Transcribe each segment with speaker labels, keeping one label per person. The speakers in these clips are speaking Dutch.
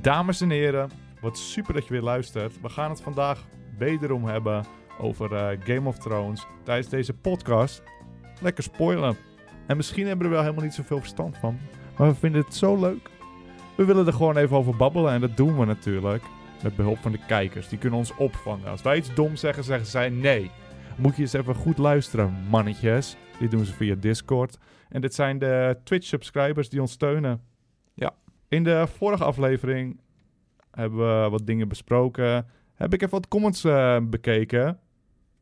Speaker 1: Dames en heren, wat super dat je weer luistert. We gaan het vandaag wederom hebben over eh, Game of Thrones tijdens deze podcast. Lekker spoilen. En misschien hebben we er wel helemaal niet zoveel verstand van, maar we vinden het zo leuk. We willen er gewoon even over babbelen en dat doen we natuurlijk met behulp van de kijkers. Die kunnen ons opvangen. Als wij iets dom zeggen, zeggen zij nee. Moet je eens even goed luisteren, mannetjes. Dit doen ze via Discord. En dit zijn de Twitch-subscribers die ons steunen.
Speaker 2: Ja.
Speaker 1: In de vorige aflevering hebben we wat dingen besproken. Heb ik even wat comments eh, bekeken.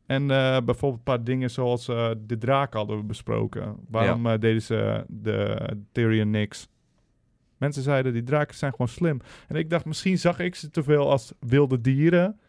Speaker 1: En eh, bijvoorbeeld een paar dingen zoals eh, de draak hadden we besproken. Waarom eh, deden ze de Tyrion niks? Mensen zeiden, die draken zijn gewoon slim. En ik dacht, misschien zag ik ze te veel als wilde dieren.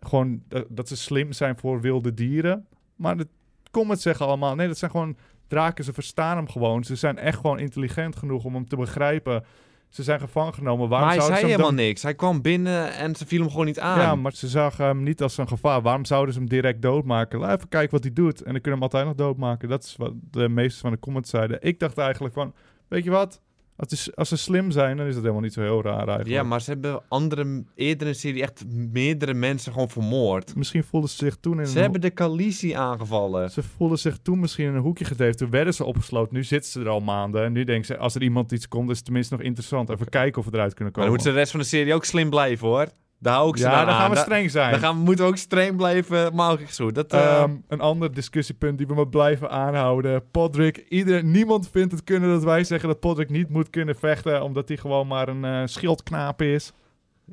Speaker 1: Gewoon eh, dat ze slim zijn voor wilde dieren. Maar de comments zeggen allemaal, nee, dat zijn gewoon draken. Ze verstaan hem gewoon. Ze zijn echt gewoon intelligent genoeg om hem te begrijpen. Ze zijn gevangen genomen. Waarom
Speaker 2: maar hij
Speaker 1: zouden
Speaker 2: zei
Speaker 1: ze hem
Speaker 2: helemaal
Speaker 1: dan...
Speaker 2: niks. Hij kwam binnen en ze viel hem gewoon niet aan.
Speaker 1: Ja, maar ze zagen hem niet als een gevaar. Waarom zouden ze hem direct doodmaken? Laat even kijken wat hij doet. En dan kunnen we hem altijd nog doodmaken. Dat is wat de meesten van de comments zeiden. Ik dacht eigenlijk van, weet je wat? Als, die- als ze slim zijn, dan is dat helemaal niet zo heel raar eigenlijk.
Speaker 2: Ja, maar ze hebben andere, eerder in de serie echt meerdere mensen gewoon vermoord.
Speaker 1: Misschien voelden ze zich toen in
Speaker 2: Ze
Speaker 1: een
Speaker 2: hebben de Khaleesi aangevallen.
Speaker 1: Ze voelden zich toen misschien in een hoekje gedeefd. Toen werden ze opgesloten. Nu zitten ze er al maanden. En nu denken ze, als er iemand iets komt, is het tenminste nog interessant. Even kijken of we eruit kunnen
Speaker 2: Maar
Speaker 1: komen.
Speaker 2: dan moeten ze de rest van de serie ook slim blijven, hoor. Daar hou ik ze
Speaker 1: ja,
Speaker 2: dan
Speaker 1: dan
Speaker 2: aan.
Speaker 1: gaan we
Speaker 2: Da-
Speaker 1: streng zijn.
Speaker 2: Ah, dan gaan we, moeten we ook streng blijven, maar ook echt zo. Dat, eh,
Speaker 1: Ehm, een ander discussiepunt die we maar blijven aanhouden. Podrick, ieder, niemand vindt het kunnen dat wij zeggen dat Podrick niet moet kunnen vechten. Omdat hij gewoon maar een eh, schildknaap is.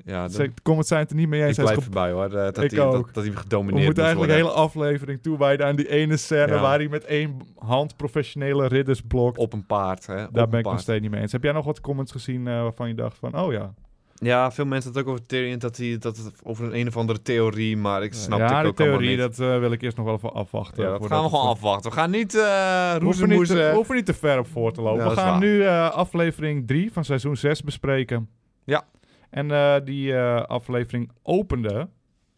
Speaker 2: ja, dat,
Speaker 1: Ze- De comments zijn het er niet mee
Speaker 2: ik
Speaker 1: eens. Hij is
Speaker 2: blijf erbij, hoor. eh, dat,
Speaker 1: Ik
Speaker 2: hij, dat,
Speaker 1: ook.
Speaker 2: dat hij
Speaker 1: We
Speaker 2: gedomineerd
Speaker 1: moeten
Speaker 2: moet
Speaker 1: eigenlijk een hele
Speaker 2: worden.
Speaker 1: aflevering toewijden aan die ene scène
Speaker 2: Ja.
Speaker 1: waar hij met één hand professionele ridders blokt.
Speaker 2: Op een paard, hè. op
Speaker 1: Daar
Speaker 2: een
Speaker 1: ben ik nog
Speaker 2: paard.
Speaker 1: steeds niet mee eens. Heb jij nog wat comments gezien eh, waarvan je dacht van, oh ja.
Speaker 2: Ja, veel mensen hadden het ook over Tyrion, dat, hij, dat het over een, een of andere theorie, maar ik snap
Speaker 1: ja,
Speaker 2: het
Speaker 1: de
Speaker 2: ook allemaal
Speaker 1: theorie,
Speaker 2: niet.
Speaker 1: dat eh, wil ik eerst nog wel even afwachten.
Speaker 2: Ja, dat
Speaker 1: voordat
Speaker 2: gaan we gewoon
Speaker 1: het-
Speaker 2: afwachten. We gaan niet eh
Speaker 1: We hoeven, niet te, we
Speaker 2: roezemoezen.
Speaker 1: hoeven niet te ver op voor te lopen. we
Speaker 2: Ja, dat is
Speaker 1: gaan
Speaker 2: waar.
Speaker 1: nu eh, aflevering 3 van seizoen 6 bespreken.
Speaker 2: Ja.
Speaker 1: En eh, die eh, aflevering opende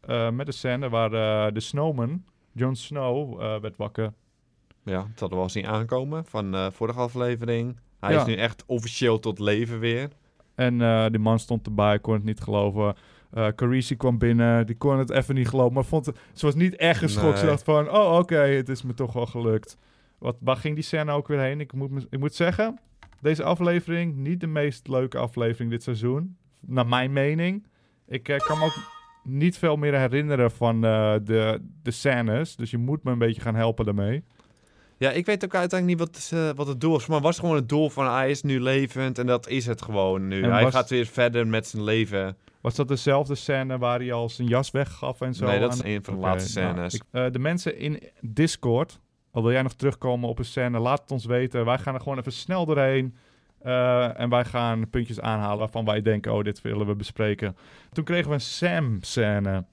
Speaker 1: eh, met een scène waar eh, de snowman, Jon Snow, eh, werd wakker.
Speaker 2: Ja, dat hadden we al zien aankomen van eh, vorige aflevering. Hij
Speaker 1: Ja.
Speaker 2: is nu echt officieel tot leven weer.
Speaker 1: En eh, die man stond erbij, kon het niet geloven. Eh Carisi kwam binnen, die kon het even niet geloven. Maar vond het, ze was niet echt geschokt. Ze
Speaker 2: Nee.
Speaker 1: dacht van, oh oké, het is me toch wel gelukt. Wat, waar ging die scène ook weer heen? Ik moet, me- ik moet zeggen, deze aflevering, niet de meest leuke aflevering dit seizoen. Naar mijn mening. Ik eh, kan me ook niet veel meer herinneren van eh, de, de scènes. Dus je moet me een beetje gaan helpen daarmee.
Speaker 2: Ja, ik weet ook uiteindelijk niet wat, eh, wat het doel was. Maar het was gewoon het doel van hij is nu levend en dat is het gewoon nu.
Speaker 1: En
Speaker 2: hij
Speaker 1: was-
Speaker 2: gaat weer verder met zijn leven.
Speaker 1: Was dat dezelfde scène waar hij al zijn jas weggaf en zo?
Speaker 2: nee, dat
Speaker 1: aan-
Speaker 2: is een van de
Speaker 1: Oké,
Speaker 2: laatste
Speaker 1: nou,
Speaker 2: scènes.
Speaker 1: ik- eh, de mensen in Discord, al wil jij nog terugkomen op een scène, laat het ons weten. Wij gaan er gewoon even snel doorheen. eh, en wij gaan puntjes aanhalen waarvan wij denken, oh, dit willen we bespreken. Toen kregen we een Sam-scène.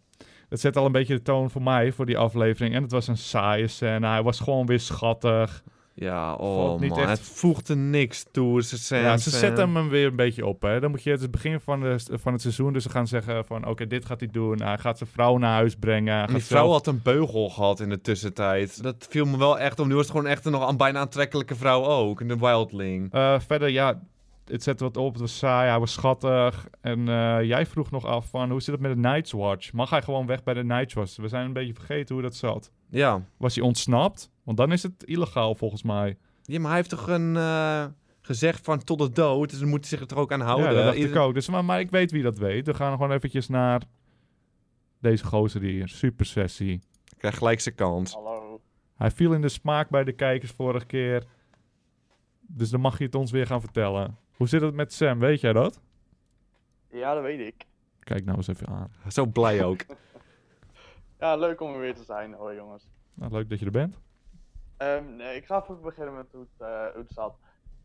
Speaker 1: Dat zet al een beetje de toon voor mij, voor die aflevering. En het was een saaie scène. Hij was gewoon weer schattig.
Speaker 2: Ja, oh
Speaker 1: Valt niet
Speaker 2: man,
Speaker 1: echt-
Speaker 2: het voegde niks toe. Ze, zijn,
Speaker 1: ja, ze zetten hem hem weer een beetje op. Hè. Dan moet je, het is het begin van, de, van het seizoen, dus ze gaan zeggen van... Oké, dit gaat hij doen. Hij gaat zijn vrouw naar huis brengen. Hij
Speaker 2: En Die
Speaker 1: gaat
Speaker 2: vrouw
Speaker 1: zelf-
Speaker 2: had een beugel gehad in de tussentijd. Dat viel me wel echt om. Nu was het gewoon echt een nog een bijna aantrekkelijke vrouw ook. Een wildling.
Speaker 1: Eh, verder, ja, het zette wat op. Het was saai, hij was schattig. En eh, jij vroeg nog af van, hoe zit het met de Night's Watch? Mag hij gewoon weg bij de Night's Watch? We zijn een beetje vergeten hoe dat zat.
Speaker 2: Ja.
Speaker 1: Was hij ontsnapt? Want dan is het illegaal volgens mij.
Speaker 2: Ja, maar hij heeft toch een eh, gezegd van tot de dood. Dus dan moet hij zich er ook aan houden.
Speaker 1: ja, dat dacht ik
Speaker 2: Ieder-
Speaker 1: ook. Dus, maar, maar ik weet wie dat weet. We gaan gewoon eventjes naar deze gozer hier. Super sessie.
Speaker 2: krijgt gelijk zijn kans.
Speaker 3: Hallo.
Speaker 1: Hij viel in de smaak bij de kijkers vorige keer. Dus dan mag je het ons weer gaan vertellen. Hoe zit het met Sam? Weet jij dat?
Speaker 3: Ja, dat weet ik.
Speaker 1: Kijk nou eens even aan.
Speaker 2: Zo blij ook.
Speaker 3: Ja, leuk om er weer te zijn. Hoi jongens.
Speaker 1: Nou, leuk dat je er bent.
Speaker 3: Ehm, nee, ik ga even beginnen met hoe het, eh, hoe het zat.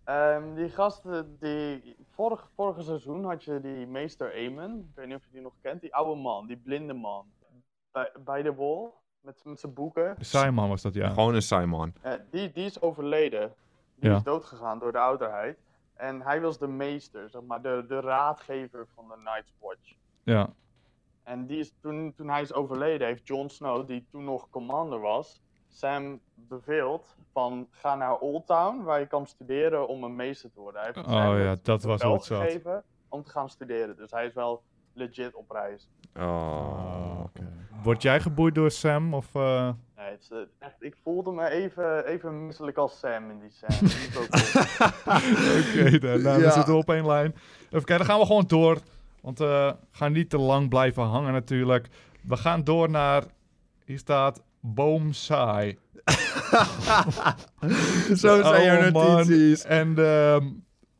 Speaker 3: Ehm, die gasten, die... Vorig, vorige seizoen had je die meester Eamon. Ik weet niet of je die nog kent. Die oude man, die blinde man. Bij, bij de wall, met, met zijn boeken.
Speaker 1: Simon was dat, ja.
Speaker 2: Gewoon een Simon.
Speaker 3: Eh, die, die is overleden. Die
Speaker 1: Ja.
Speaker 3: is doodgegaan door de ouderheid. En hij was de meester, zeg maar, de, de raadgever van de Night's Watch.
Speaker 1: Ja.
Speaker 3: En die is toen, toen hij is overleden, heeft Jon Snow, die toen nog commander was, Sam beveeld van ga naar Old Town, waar je kan studeren om een meester te worden. Hij heeft
Speaker 1: Oh
Speaker 3: Sam
Speaker 1: ja,
Speaker 3: het
Speaker 1: dat was
Speaker 3: bevel
Speaker 1: hoe het zat.
Speaker 3: gegeven om te gaan studeren. Dus hij is wel legit op reis.
Speaker 2: Oh.
Speaker 1: Word jij geboeid door Sam? Of, eh,
Speaker 3: Nee, het is, eh, echt, ik voelde me even, even misselijk als Sam in die scène. Dat is ook cool.
Speaker 1: Oké, dan, nou,
Speaker 2: Ja.
Speaker 1: we zitten op één lijn. Even kijken, dan gaan we gewoon door. Want eh, we gaan niet te lang blijven hangen natuurlijk. We gaan door naar... Hier staat Boomsaai.
Speaker 2: Zo
Speaker 1: Oh,
Speaker 2: zijn je
Speaker 1: man.
Speaker 2: notities.
Speaker 1: En, ehm,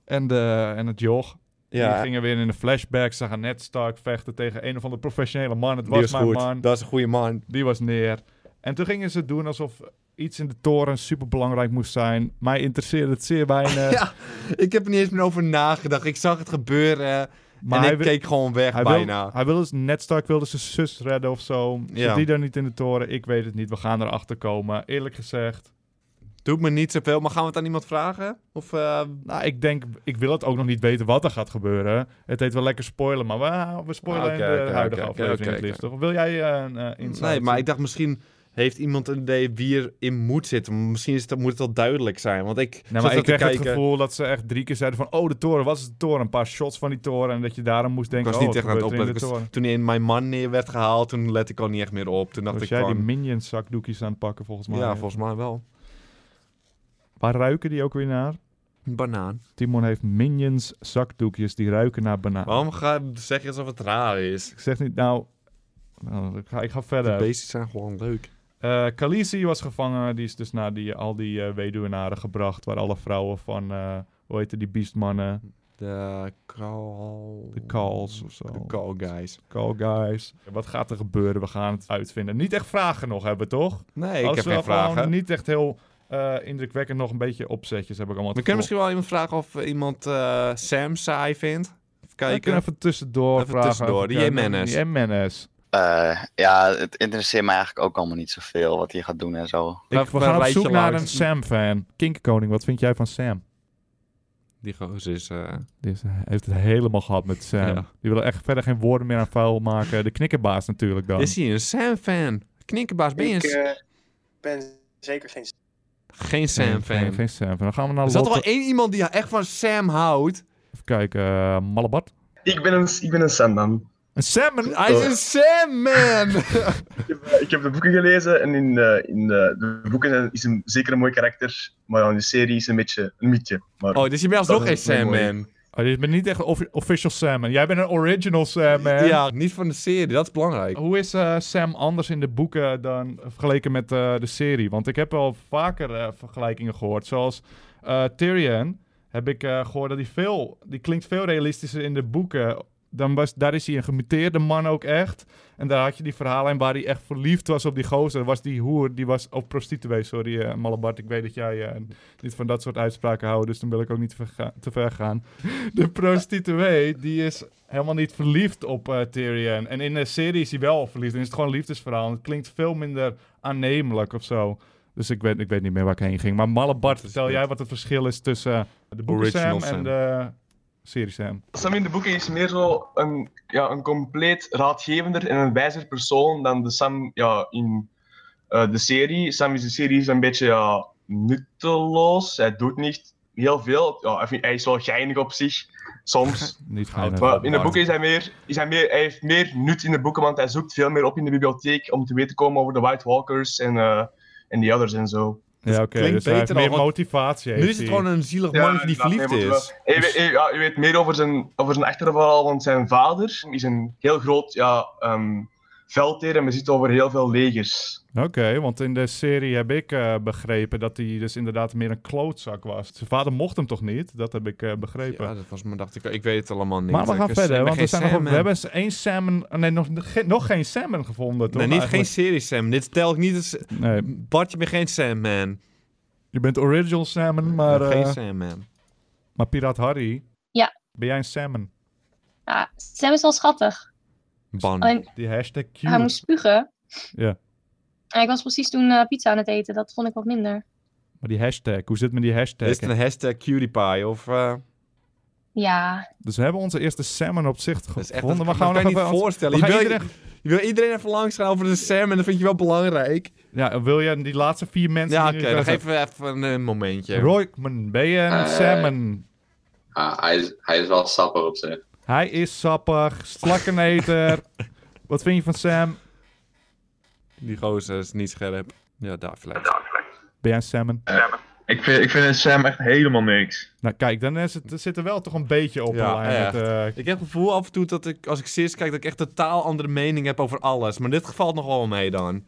Speaker 1: en, de, en het joch. Die
Speaker 2: Ja, die
Speaker 1: gingen weer in de flashbacks. Ze gaan net Stark vechten tegen een of andere professionele man. Het was
Speaker 2: was
Speaker 1: mijn
Speaker 2: goed.
Speaker 1: man.
Speaker 2: Dat is een goede man.
Speaker 1: Die was neer. En toen gingen ze doen alsof iets in de toren superbelangrijk moest zijn. Mij interesseerde het zeer weinig.
Speaker 2: Ja, ik heb er niet eens meer over nagedacht. Ik zag het gebeuren
Speaker 1: maar
Speaker 2: en
Speaker 1: hij
Speaker 2: ik
Speaker 1: wi-
Speaker 2: keek gewoon weg
Speaker 1: Hij
Speaker 2: bijna.
Speaker 1: Wil, hij wilde, net Stark wilde zijn zus redden of zo. Zit
Speaker 2: Ja.
Speaker 1: die daar niet in de toren? Ik weet het niet. We gaan erachter komen. Eerlijk gezegd.
Speaker 2: Doet me niet zoveel, maar gaan we het aan iemand vragen? Of, eh,
Speaker 1: Nou, ik denk... Ik wil het ook nog niet weten wat er gaat gebeuren. Het heet wel lekker spoilen, maar we, we spoilen
Speaker 2: Ah, Oké,
Speaker 1: in de
Speaker 2: oké,
Speaker 1: huidige
Speaker 2: oké,
Speaker 1: aflevering
Speaker 2: oké,
Speaker 1: het
Speaker 2: oké.
Speaker 1: liefst. Toch? Wil jij eh, een eh, insight?
Speaker 2: nee, maar ik dacht misschien heeft iemand een idee wie erin moet zitten. Misschien is dat, moet het al duidelijk zijn, want ik
Speaker 1: Nee, maar
Speaker 2: zat zo
Speaker 1: ik
Speaker 2: te
Speaker 1: kreeg het
Speaker 2: kijken.
Speaker 1: gevoel dat ze echt drie keer zeiden van... Oh, de toren. Wat is de toren? Een paar shots van die toren. En dat je daarom moest
Speaker 2: Ik
Speaker 1: denken...
Speaker 2: was
Speaker 1: oh,
Speaker 2: niet
Speaker 1: wat
Speaker 2: echt aan het
Speaker 1: gebeurt er
Speaker 2: opletten.
Speaker 1: in de
Speaker 2: Ik was-
Speaker 1: toren?
Speaker 2: Toen in mijn man neer werd gehaald, toen let ik al niet echt meer op. Toen dacht
Speaker 1: Was
Speaker 2: ik
Speaker 1: Dus jij die
Speaker 2: van...
Speaker 1: minions zakdoekjes aan het pakken volgens mij?
Speaker 2: ja, volgens mij wel.
Speaker 1: Waar ruiken die ook weer naar?
Speaker 2: Een banaan.
Speaker 1: Timon heeft minions zakdoekjes die ruiken naar banaan.
Speaker 2: Waarom ga, zeg je alsof het raar is?
Speaker 1: Ik zeg niet, nou... nou, ik, ga, ik ga
Speaker 2: De
Speaker 1: verder.
Speaker 2: beesten zijn gewoon leuk.
Speaker 1: Eh, Khaleesi was gevangen. Die is dus naar die, al die eh, weduwenaren gebracht. Waar alle vrouwen van... eh, hoe heette die beastmannen?
Speaker 2: De call...
Speaker 1: De Kals of zo.
Speaker 2: De call guys.
Speaker 1: Call guys. Wat gaat er gebeuren? We gaan het uitvinden. Niet echt vragen nog hebben, toch?
Speaker 2: Nee, ik
Speaker 1: Als
Speaker 2: heb
Speaker 1: we
Speaker 2: geen
Speaker 1: Oh, gewoon
Speaker 2: vragen.
Speaker 1: niet echt heel eh, indrukwekkend nog een beetje opzetjes heb ik allemaal
Speaker 2: We
Speaker 1: het
Speaker 2: kunnen
Speaker 1: gevoel.
Speaker 2: misschien wel iemand vragen of iemand eh, Sam saai vindt. Even
Speaker 1: We
Speaker 2: kijken.
Speaker 1: kunnen even tussendoor
Speaker 2: Even
Speaker 1: vragen.
Speaker 2: tussendoor, die
Speaker 1: kijken.
Speaker 2: MNS.
Speaker 1: Die MNS.
Speaker 4: Eh, ja, het interesseert me eigenlijk ook allemaal niet zoveel wat hij gaat doen en zo.
Speaker 1: Ik-
Speaker 2: Even
Speaker 1: we
Speaker 2: een
Speaker 1: gaan op
Speaker 2: rijtje
Speaker 1: zoek naar een
Speaker 2: langs.
Speaker 1: Sam-fan. Kinkerkoning, wat vind jij van Sam?
Speaker 2: Die gozer is... eh,
Speaker 1: Die is- heeft het helemaal gehad met Sam.
Speaker 2: Ja.
Speaker 1: Die willen echt verder geen woorden meer aan vuil maken. De knikkerbaas natuurlijk dan.
Speaker 2: Is hij een Sam-fan? Knikkerbaas, ben je
Speaker 5: Ik
Speaker 2: een-
Speaker 5: eh, ben zeker geen
Speaker 2: geen
Speaker 1: Nee,
Speaker 2: Sam-fan?
Speaker 1: Geen, geen Sam-fan. Dan gaan we naar
Speaker 2: Er zat
Speaker 1: Lotte.
Speaker 2: er wel één iemand die echt van Sam houdt.
Speaker 1: Even kijken. eh, Malabat.
Speaker 6: Ik ben een, ik ben een Sandman.
Speaker 1: Een Sam? een-
Speaker 2: Hij is een Sam-man!
Speaker 6: Ik heb, eh, ik heb de boeken gelezen en in, eh, in eh, de boeken zijn- is hem zeker een mooi karakter, maar in de serie is een beetje een mietje. Maar
Speaker 2: Oh, dus je bent alsnog
Speaker 6: Dat
Speaker 2: geen
Speaker 6: is wel mooi.
Speaker 2: Sam-man.
Speaker 1: Oh, je bent niet echt offi- official Sam. En jij bent een original Sam, man.
Speaker 2: Ja, niet van de serie, dat is belangrijk.
Speaker 1: Hoe is eh, Sam anders in de boeken dan vergeleken met eh, de serie? Want ik heb wel vaker eh, vergelijkingen gehoord. Zoals eh, Tyrion heb ik eh, gehoord dat hij veel... Die klinkt veel realistischer in de boeken. Dan was, daar is hij een gemuteerde man ook echt. En daar had je die verhalen waar hij echt verliefd was op die gozer. Dat was die hoer, die was... Of prostituee, sorry eh Malabart. Ik weet dat jij eh, niet van dat soort uitspraken houdt. Dus dan wil ik ook niet te ver, ga- te ver gaan. De prostituee, die is helemaal niet verliefd op eh, Tyrion. En in de serie is hij wel verliefd. En is het gewoon een liefdesverhaal. En het klinkt veel minder aannemelijk of zo. Dus ik weet, ik weet niet meer waar ik heen ging. Maar Malabart,
Speaker 2: Dat is
Speaker 1: vertel
Speaker 2: goed.
Speaker 1: jij wat het verschil is tussen eh, de boeken
Speaker 2: Original
Speaker 1: Sam, en
Speaker 2: Sam.
Speaker 1: de serie Sam.
Speaker 6: Sam in de boeken is meer zo een, ja, een compleet raadgevender en een wijzer persoon dan de Sam ja, in eh, de serie. Sam is de serie is een beetje ja, nutteloos, hij doet niet heel veel. Ja, hij, vindt- hij is wel geinig op zich, soms.
Speaker 1: Niet
Speaker 2: Goud.
Speaker 1: geinig.
Speaker 6: Maar in de
Speaker 2: Bart.
Speaker 6: boeken is hij, meer, is hij meer, hij heeft meer nut in de boeken, want hij zoekt veel meer op in de bibliotheek om te weten te komen over de White Walkers en, eh, en die others en zo.
Speaker 1: Ja, oké.
Speaker 2: klinkt
Speaker 1: Dus hij heeft
Speaker 2: beter al,
Speaker 1: meer
Speaker 2: want
Speaker 1: motivatie.
Speaker 2: Nu
Speaker 1: heeft
Speaker 2: is het
Speaker 1: hij.
Speaker 2: gewoon een zielig
Speaker 6: Ja,
Speaker 2: mannetje die
Speaker 6: inderdaad,
Speaker 2: verliefd
Speaker 6: nee, want
Speaker 2: is. Dus-
Speaker 6: Hij, weet- hij- ja, je weet meer over zijn, over zijn achterverhaal, want zijn vader is een heel groot ja, ehm, veldheer en bezit over heel veel legers.
Speaker 1: Oké, want in de serie heb ik eh, begrepen dat hij dus inderdaad meer een klootzak was. Zijn vader mocht hem toch niet? Dat heb ik eh, begrepen.
Speaker 2: Ja, dat was mijn dacht ik. Ik weet het allemaal niet.
Speaker 1: maar we
Speaker 2: Ik
Speaker 1: gaan
Speaker 2: ben- ik
Speaker 1: verder,
Speaker 2: ben
Speaker 1: want we,
Speaker 2: geen
Speaker 1: zijn nog, we
Speaker 2: Sam-man.
Speaker 1: hebben eens één salmon... oh, Nee, nog, ge- nog geen salmon gevonden, toch?
Speaker 2: Nee, niet geen
Speaker 1: eigenlijk?
Speaker 2: serie Sam. Dit tel ik niet als...
Speaker 1: Nee,
Speaker 2: Bart, je bent geen Sam-man.
Speaker 1: je bent original salmon, maar, eh,
Speaker 2: Geen Sam-man.
Speaker 1: maar Piraat Harry...
Speaker 7: Ja.
Speaker 1: Ben jij een salmon?
Speaker 7: Ja, Sam is wel schattig.
Speaker 2: Ban.
Speaker 7: Alleen,
Speaker 1: Die hashtag cute.
Speaker 7: hij moest spugen.
Speaker 1: Ja.
Speaker 7: En ik was precies toen eh, pizza aan het eten. Dat vond ik wat minder.
Speaker 1: Maar die hashtag, hoe zit het met die hashtag?
Speaker 2: Is het een hashtag cutie of... eh,
Speaker 7: Ja,
Speaker 1: Dus we hebben onze eerste salmon op zicht
Speaker 2: dat is echt...
Speaker 1: gevonden.
Speaker 2: dat
Speaker 1: maar gaan
Speaker 2: kan
Speaker 1: we
Speaker 2: je
Speaker 1: nog
Speaker 2: niet
Speaker 1: even...
Speaker 2: voorstellen.
Speaker 1: we
Speaker 2: Je wil,
Speaker 1: gaan
Speaker 2: iedereen... je wil iedereen even langs gaan over de Sam en dat vind je wel belangrijk.
Speaker 1: Ja, wil je die laatste vier mensen...
Speaker 2: Ja,
Speaker 1: die
Speaker 2: oké.
Speaker 1: nu
Speaker 2: dan
Speaker 1: gaan-
Speaker 2: geven we even een, eh, momentje.
Speaker 1: Roykman, ben je een
Speaker 8: Eh.
Speaker 1: salmon?
Speaker 8: Ah, hij, is, hij is wel sapper op zich.
Speaker 1: Hij is sappig, slakkeneter. Wat vind je van Sam?
Speaker 2: Die gozer is niet scherp. Ja, daar vlek.
Speaker 1: Ben jij een Salmon?
Speaker 8: Ik vind, ik vind Sam echt helemaal niks.
Speaker 1: Nou kijk, dan is het, zit er wel toch een beetje op.
Speaker 2: Ja,
Speaker 1: een lijn met, eh,
Speaker 2: Ik heb het gevoel af en toe dat ik, als ik Sis kijk, dat ik echt totaal andere mening heb over alles. Maar in dit geval nog wel mee dan.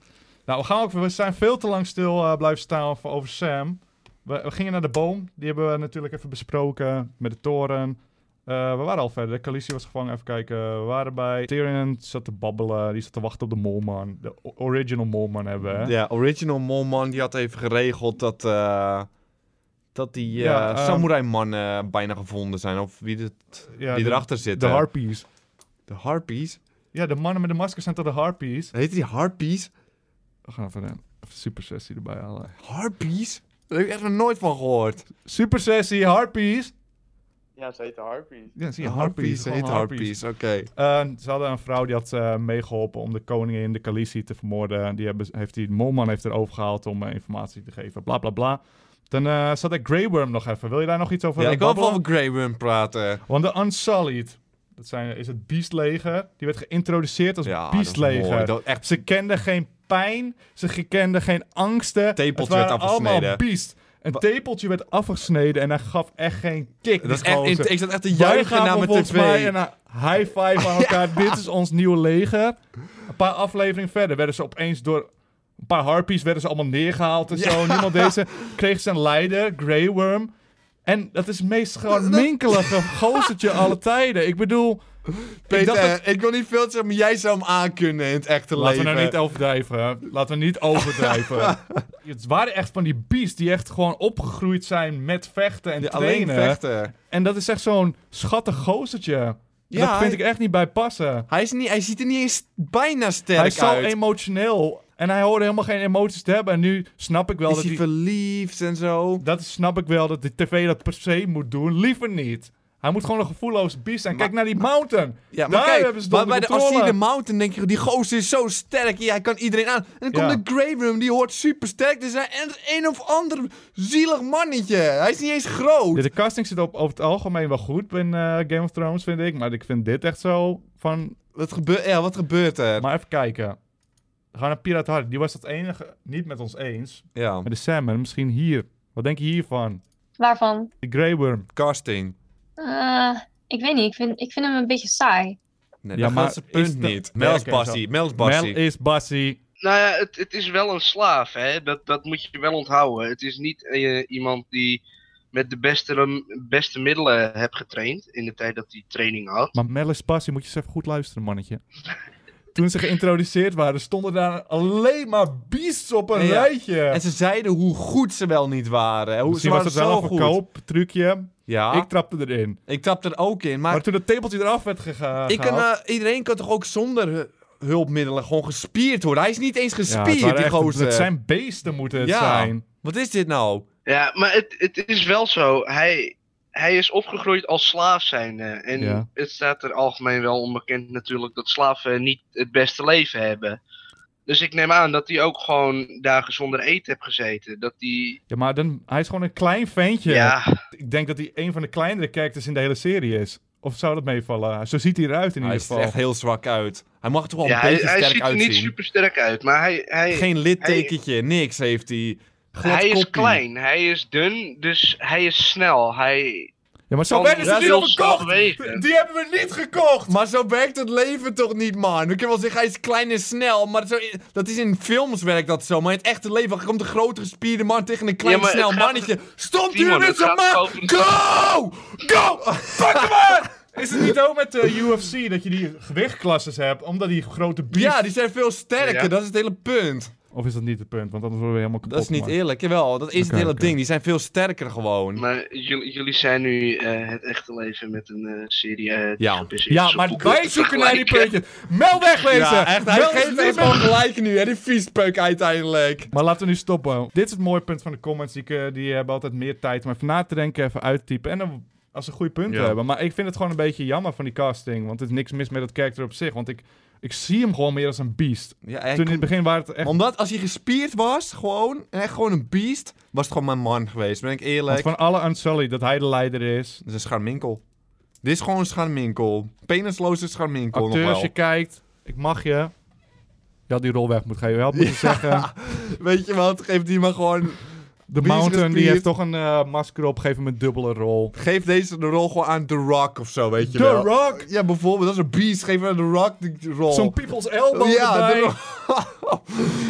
Speaker 1: nou, we, gaan ook, we zijn veel te lang stil eh, blijven staan over, over Sam. We, we gingen naar de boom. Die hebben we natuurlijk even besproken met de toren. Eh, we waren al verder. Khaleesi was gevangen. Even kijken. We waren bij Tyrion. Zat te babbelen. Die zat te wachten op de molman. De o- original molman hebben we, hè?
Speaker 2: Ja, Original Molman die had even geregeld dat, eh, dat die eh,
Speaker 1: Ja, ehm,
Speaker 2: samurai-mannen bijna gevonden zijn. Of wie, dit,
Speaker 1: Ja,
Speaker 2: die
Speaker 1: de-
Speaker 2: erachter
Speaker 1: De
Speaker 2: zitten.
Speaker 1: harpies.
Speaker 2: de harpies.
Speaker 1: Ja, de mannen met de maskers zijn toch de harpies?
Speaker 2: Heet die harpies?
Speaker 1: We gaan even een even super sessie erbij halen.
Speaker 2: Harpies? Daar heb ik echt nog nooit van gehoord.
Speaker 1: Super sessie, harpies!
Speaker 3: Ja, ze heet de Harpies.
Speaker 1: Ja, zie je,
Speaker 2: Ja,
Speaker 1: harpies.
Speaker 2: harpies,
Speaker 1: gewoon
Speaker 2: heet harpies, oké.
Speaker 1: Eh, ze hadden een vrouw die had eh, meegeholpen om de koningin, de Khaleesi, te vermoorden. Die hebben, heeft die molman heeft er overgehaald om eh, informatie te geven. Bla bla bla. Dan eh, zat er Grey Worm nog even. Wil je daar nog iets over
Speaker 2: Ja,
Speaker 1: eh,
Speaker 2: ik wil even
Speaker 1: babbelen?
Speaker 2: over Grey Worm praten.
Speaker 1: Want de Unsullied, dat zijn, is het beastleger. Die werd geïntroduceerd als
Speaker 2: Ja, dat is mooi.
Speaker 1: beastleger.
Speaker 2: Dat echt
Speaker 1: Ze kenden geen pijn, ze ge- kenden geen angsten.
Speaker 2: Tepeltje
Speaker 1: Het waren
Speaker 2: werd afgesneden.
Speaker 1: allemaal beest. Een tepeltje werd afgesneden en hij gaf echt geen kick.
Speaker 2: Dat is
Speaker 1: die
Speaker 2: echt,
Speaker 1: gozer.
Speaker 2: int- ik zat echt te
Speaker 1: Jij
Speaker 2: juichen naar mijn
Speaker 1: volgens
Speaker 2: tv.
Speaker 1: mij een high five aan elkaar. Dit is ons nieuwe leger. Een paar afleveringen verder werden ze opeens door een paar harpies werden ze allemaal neergehaald en zo. Niemand deze kreeg zijn leider, Grey Worm. En dat is het meest gewoon minkelige gozertje alle tijden. Ik bedoel,
Speaker 2: Peter, eh,
Speaker 1: dacht
Speaker 2: ik,
Speaker 1: dat-
Speaker 2: wil niet veel zeggen, maar jij zou hem aankunnen in het echte
Speaker 1: laten
Speaker 2: leven.
Speaker 1: we nou niet overdrijven. hè. Laten we niet overdrijven. het waren echt van die beasts die echt gewoon opgegroeid zijn met vechten en
Speaker 2: Ja, alleen
Speaker 1: trainen.
Speaker 2: vechten.
Speaker 1: En dat is echt zo'n schattig gozertje.
Speaker 2: Ja,
Speaker 1: Ja, dat vind
Speaker 2: hij-
Speaker 1: ik echt niet bij passen.
Speaker 2: Hij, is niet, hij ziet er niet eens bijna sterk
Speaker 1: Hij is zo
Speaker 2: uit.
Speaker 1: emotioneel. En hij hoorde helemaal geen emoties te hebben. En nu snap ik wel
Speaker 2: Is
Speaker 1: dat
Speaker 2: hij
Speaker 1: hij...
Speaker 2: verliefd en zo?
Speaker 1: Dat snap ik wel dat de tv dat per se moet doen. Liever niet. Hij moet gewoon een gevoelloos beest zijn. Kijk naar die mountain.
Speaker 2: Ja, maar
Speaker 1: Daar
Speaker 2: kijk,
Speaker 1: hebben ze het
Speaker 2: maar
Speaker 1: onder
Speaker 2: bij de, als
Speaker 1: controle.
Speaker 2: hij de mountain denk je, die gozer is zo sterk, ja, hij kan iedereen aan. En dan komt
Speaker 1: Ja.
Speaker 2: de Grey Room, die hoort super sterk te zijn en het is een of ander zielig mannetje. Hij is niet eens groot.
Speaker 1: Ja, de casting zit op, over het algemeen wel goed in eh, Game of Thrones, vind ik. Maar ik vind dit echt zo van...
Speaker 2: Wat, gebeurt, ja, wat gebeurt er?
Speaker 1: Maar even kijken. We gaan naar Pirat Hardy. Die was het enige niet met ons eens.
Speaker 2: ja,
Speaker 1: Met de Salmon, misschien hier. Wat denk je hiervan?
Speaker 7: Waarvan?
Speaker 1: Die Grey Worm.
Speaker 2: casting.
Speaker 7: Eh, ik weet niet, ik vind, ik vind hem een beetje saai.
Speaker 2: Nee,
Speaker 1: Ja,
Speaker 2: dat
Speaker 1: maar
Speaker 2: gaat zijn punt
Speaker 1: is de-
Speaker 2: niet.
Speaker 1: Ja,
Speaker 2: Mels
Speaker 1: oké,
Speaker 2: Bassie, Mels
Speaker 1: Mel
Speaker 2: Bassie.
Speaker 1: is Bassie.
Speaker 9: Nou ja, het, het is wel een slaaf, hè? Dat, dat moet je wel onthouden. Het is niet eh, iemand die met de beste, beste middelen heb getraind in de tijd dat hij training had.
Speaker 1: Maar Melis Passie, moet je eens even goed luisteren, mannetje. Toen ze geïntroduceerd waren, stonden daar alleen maar beasts op een
Speaker 2: Ja, ja.
Speaker 1: rijtje.
Speaker 2: En ze zeiden hoe goed ze wel niet waren. Hoe, ze
Speaker 1: eh, Misschien was
Speaker 2: waren
Speaker 1: het wel
Speaker 2: zo
Speaker 1: een
Speaker 2: goed. Ah.
Speaker 1: verkoop trucje.
Speaker 2: Ja,
Speaker 1: Ik trapte erin.
Speaker 2: ik trap er ook in. Maar,
Speaker 1: Maar, toen het tepeltje eraf werd gegaan.
Speaker 2: ik kan, eh, iedereen kan toch ook zonder hu- hulpmiddelen gewoon gespierd worden? Hij is niet eens gespierd, die gozer.
Speaker 1: Het zijn beesten moeten het
Speaker 2: Ja.
Speaker 1: zijn.
Speaker 2: Wat is dit nou?
Speaker 9: Ja, maar het, het is wel zo. Hij, hij is opgegroeid als slaaf zijnde. En
Speaker 1: Ja.
Speaker 9: het staat er algemeen wel onbekend natuurlijk dat slaven niet het beste leven hebben. Dus ik neem aan dat hij ook gewoon dagen zonder eten heeft gezeten. Dat hij...
Speaker 1: Ja, maar dan, hij is gewoon een klein ventje.
Speaker 9: Ja,
Speaker 1: Ik denk dat hij een van de kleinere characters in de hele serie is. Of zou dat meevallen? Zo ziet hij eruit in
Speaker 2: Hij
Speaker 1: ieder
Speaker 2: ziet
Speaker 1: geval.
Speaker 2: er echt heel zwak uit. Hij mag er toch wel
Speaker 9: ja
Speaker 2: een
Speaker 9: hij,
Speaker 2: beetje
Speaker 9: hij
Speaker 2: sterk
Speaker 9: ziet er niet
Speaker 2: uitzien.
Speaker 9: super sterk uit. Maar hij, hij,
Speaker 2: Geen littekentje, niks heeft hij. Glad
Speaker 9: hij is
Speaker 2: koppie.
Speaker 9: klein, hij is dun, dus hij is snel. Hij
Speaker 1: Ja, maar zo
Speaker 2: Oh,
Speaker 9: kan
Speaker 1: werden ze
Speaker 9: heel
Speaker 1: niet
Speaker 9: snel
Speaker 1: verkocht!
Speaker 9: bewegen.
Speaker 1: Die hebben we niet gekocht!
Speaker 2: Maar zo werkt het leven toch niet, man? Ik kan wel zeggen, hij is klein en snel, maar zo, dat is in films werkt dat zo. Maar in het echte leven komt een grote gespierde man tegen een klein
Speaker 9: Ja, maar het
Speaker 2: snel
Speaker 9: gaat-
Speaker 2: mannetje. Stond
Speaker 9: Timon,
Speaker 2: hier met
Speaker 9: het
Speaker 2: zijn
Speaker 9: gaat
Speaker 2: man!
Speaker 9: over-
Speaker 2: Go! Go! Fuck hem aan!
Speaker 1: Is het niet ook met eh, de UFC dat je die gewichtklasses hebt, omdat die grote beest...
Speaker 2: Ja, die zijn veel sterker,
Speaker 9: Ja.
Speaker 2: dat is het hele punt.
Speaker 1: Of is dat niet het punt? Want anders worden we helemaal kapot.
Speaker 2: Dat is niet
Speaker 1: gemaakt.
Speaker 2: eerlijk, jawel, dat is het
Speaker 1: Oké,
Speaker 2: hele
Speaker 1: oké.
Speaker 2: ding. Die zijn veel sterker gewoon.
Speaker 9: Maar jullie, jullie zijn nu eh, het echte leven met een eh, serie. eh, die
Speaker 2: Ja.
Speaker 9: gebaseerd is
Speaker 1: Ja,
Speaker 9: op
Speaker 1: maar
Speaker 9: boeken
Speaker 1: wij
Speaker 9: te
Speaker 1: zoeken naar die
Speaker 9: vergelijken.
Speaker 1: puntjes. Mel wegwezen!
Speaker 2: Ja, echt, hij
Speaker 1: Mel is
Speaker 2: geeft
Speaker 1: niet
Speaker 2: ons
Speaker 1: meer-
Speaker 2: gewoon gelijk nu, hè, die viespeuk uiteindelijk.
Speaker 1: Maar laten we nu stoppen. Dit is het mooie punt van de comments. Die, eh, die hebben altijd meer tijd om even na te denken, even uittypen. En dan, als ze goede punten
Speaker 2: Ja.
Speaker 1: hebben. Maar ik vind het gewoon een beetje jammer van die casting. Want er is niks mis met dat karakter op zich. Want ik, ik zie hem gewoon meer als een beest.
Speaker 2: Ja, hij
Speaker 1: Toen in
Speaker 2: kon-
Speaker 1: het begin waren het echt...
Speaker 2: Omdat als hij gespierd was, gewoon, en echt gewoon een beest, was het gewoon mijn man geweest, ben ik
Speaker 1: want
Speaker 2: eerlijk.
Speaker 1: van alle Unsullied, dat hij de leider is.
Speaker 2: Dat is een scharminkel. Dit is gewoon scharminkel. Penisloze scharminkel nog
Speaker 1: Acteur,
Speaker 2: wel.
Speaker 1: als je kijkt, ik mag je. Je had die rol weg moeten geven. Je had moeten zeggen,
Speaker 2: Weet je wat? Geef die maar gewoon.
Speaker 1: The
Speaker 2: Wie is
Speaker 1: Mountain die
Speaker 2: gespierd?
Speaker 1: heeft toch een eh, masker op, geef hem een dubbele rol.
Speaker 2: Geef deze de rol gewoon aan The Rock of zo, weet je
Speaker 1: The
Speaker 2: wel.
Speaker 1: Rock?
Speaker 2: Ja, bijvoorbeeld. Dat is een beast. Geef aan The Rock die rol.
Speaker 1: Zo'n people's elbow
Speaker 2: Oh. ja,
Speaker 1: erbij.
Speaker 2: The Rock.